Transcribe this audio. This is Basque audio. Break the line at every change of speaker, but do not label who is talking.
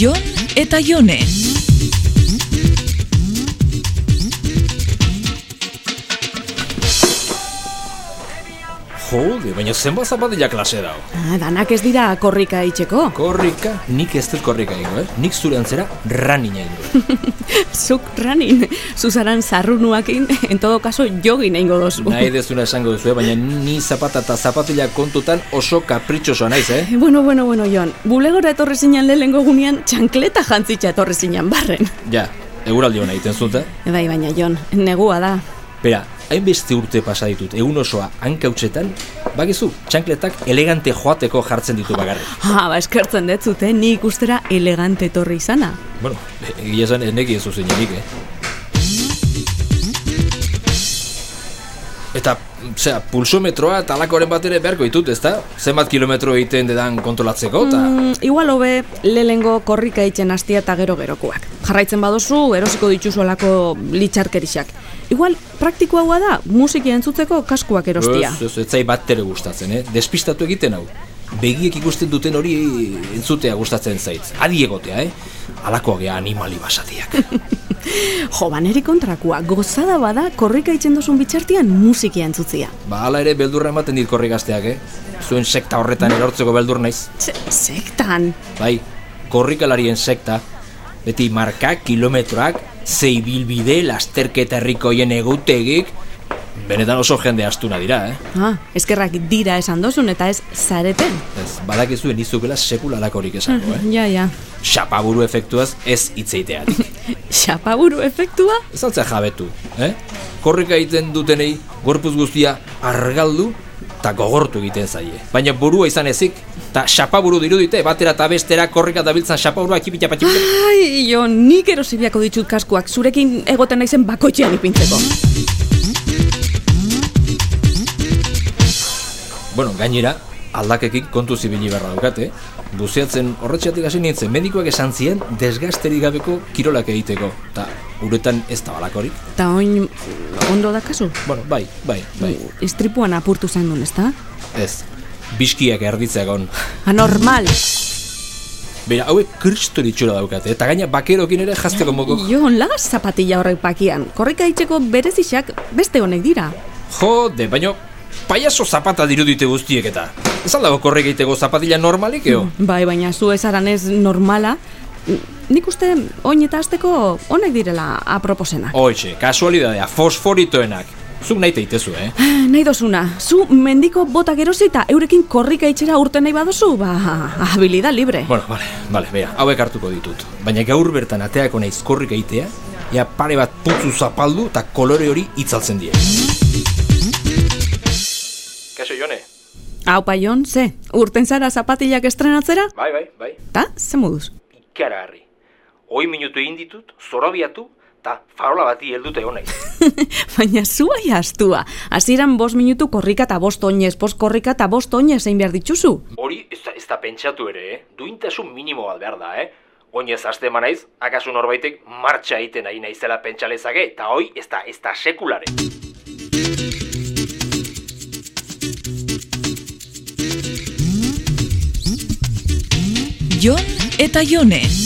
Jon eta Jone.
Jode, baina zenbat zapatila klase dau.
Ah, danak ez dira korrika itxeko.
Korrika, nik ez dut korrika ingo, eh? Nik zure antzera ranina ingo.
Zuk ranin, zuzaran zarrunuakin, en todo caso jogin egingo dozu.
Nahi dezuna esango duzu, eh? baina ni zapata eta zapatila kontutan oso kapritxosoa naiz, eh?
Bueno, bueno, bueno, Jon. Bulegora etorri zinan lehengo gunean, txankleta jantzitza etorri zinan barren.
Ja, eguraldi hona egiten zut, eh?
Bai, baina Jon, negua da.
Pera, hainbeste urte pasa ditut, egun osoa hankautxetan, bakizu, txankletak elegante joateko jartzen ditu bagarrik.
Ha, ba, eskertzen dut zute, ni ikustera elegante etorri izana.
Bueno, e- egia esan eneki ez zinenik, eh? Eta, zera, pulsometroa eta alakoren bat ere beharko ditut, ezta? Zenbat kilometro egiten dedan kontrolatzeko, eta...
Mm, igual hobe lehengo korrika itzen astia eta gero gerokoak. Jarraitzen baduzu, erosiko dituzuelako litxarkerixak. Igual praktikoagoa da, musiki entzutzeko kaskuak erostia.
Ez, ez, ez zai bat ere gustatzen, eh? Despistatu egiten hau. Begiek ikusten duten hori entzutea gustatzen zait. Adi egotea, eh? Alakoa gea animali basatiak.
Jo, ba, niri kontrakua, gozada bada korrika itzen duzun bitxartian musikia entzutzia.
ba, ala ere beldurra ematen dit korri gazteak, eh? Zuen sekta horretan erortzeko beldur naiz.
Se sektan!
Bai, korrikalarien sekta. Beti markak, kilometroak, zei bilbide, lasterketa herrikoien egutegik. Benetan oso jende astuna dira, eh?
Ah, eskerrak dira esan dozun eta ez zareten.
Ez, badakizuen izukela sekulalakorik esango, eh?
Ja, ja.
Xapaburu efektuaz ez itzeiteatik.
Xapaburu efektua?
Ez altzea jabetu, eh? Korrika egiten dutenei gorpuz guztia argaldu eta gogortu egiten zaie. Baina burua izan ezik, eta xapaburu dirudite, batera eta bestera korrika dabiltzan xapaburua kipita patxipita.
Ai, jo, nik erosibiako ditut kaskuak, zurekin egoten naizen bakoitzean ipintzeko.
Bueno, gainera, aldakekin kontu zibili berra daukate. Buzeatzen horretxeatik hasi nintzen, medikoak esan zien desgasterik gabeko kirolak egiteko. Eta uretan ez da balakorik.
Eta oin, ondo da kasu?
Bueno, bai, bai, bai.
Istripuan apurtu zain duen, ezta?
Ez, bizkiak erditzea gon.
Anormal!
Bera, hauek kristori itxura daukate, eta gaina bakerokin ere jazteko moko
Jon, lagaz zapatilla horrek pakian. Korrika itxeko berezixak beste honek dira.
Jode, baino paiaso zapata dirudite guztiek eta. Ez aldago korrek egiteko zapatila normalik, eo?
Bai, baina zu ezaran ez normala. Nik uste oin eta azteko honek direla aproposenak.
Hoxe, kasualidadea, fosforitoenak. Zuk nahi teitezu, eh?
Ah, Nahi dozuna, zu mendiko botak erosi eta eurekin korrika itxera urten nahi baduzu, ba, habilidad libre.
Bueno, vale, vale, bera, hauek hartuko ditut. Baina gaur bertan ateako naiz korrik egitea, ja pare bat putzu zapaldu eta kolore hori itzaltzen die. Kaso, Jone?
Hau paion, ze, urten zara zapatilak estrenatzera?
Bai, bai, bai.
Ta, ze moduz?
Ikara harri. Hoi minutu egin ditut, zorobiatu, eta farola bati heldute egon naiz.
Baina zuai astua. Hasieran bost minutu korrika eta bost oinez, bost korrika eta bost oinez zein behar dituzu.
Hori ez da, ez da pentsatu ere, eh? Duintasun minimo bat behar da, eh? Oinez aste eman naiz, akaso norbaitek martxa egiten ari naizela pentsalezake, eta hoi ez da, ez da sekulare.
Jon eta Jone.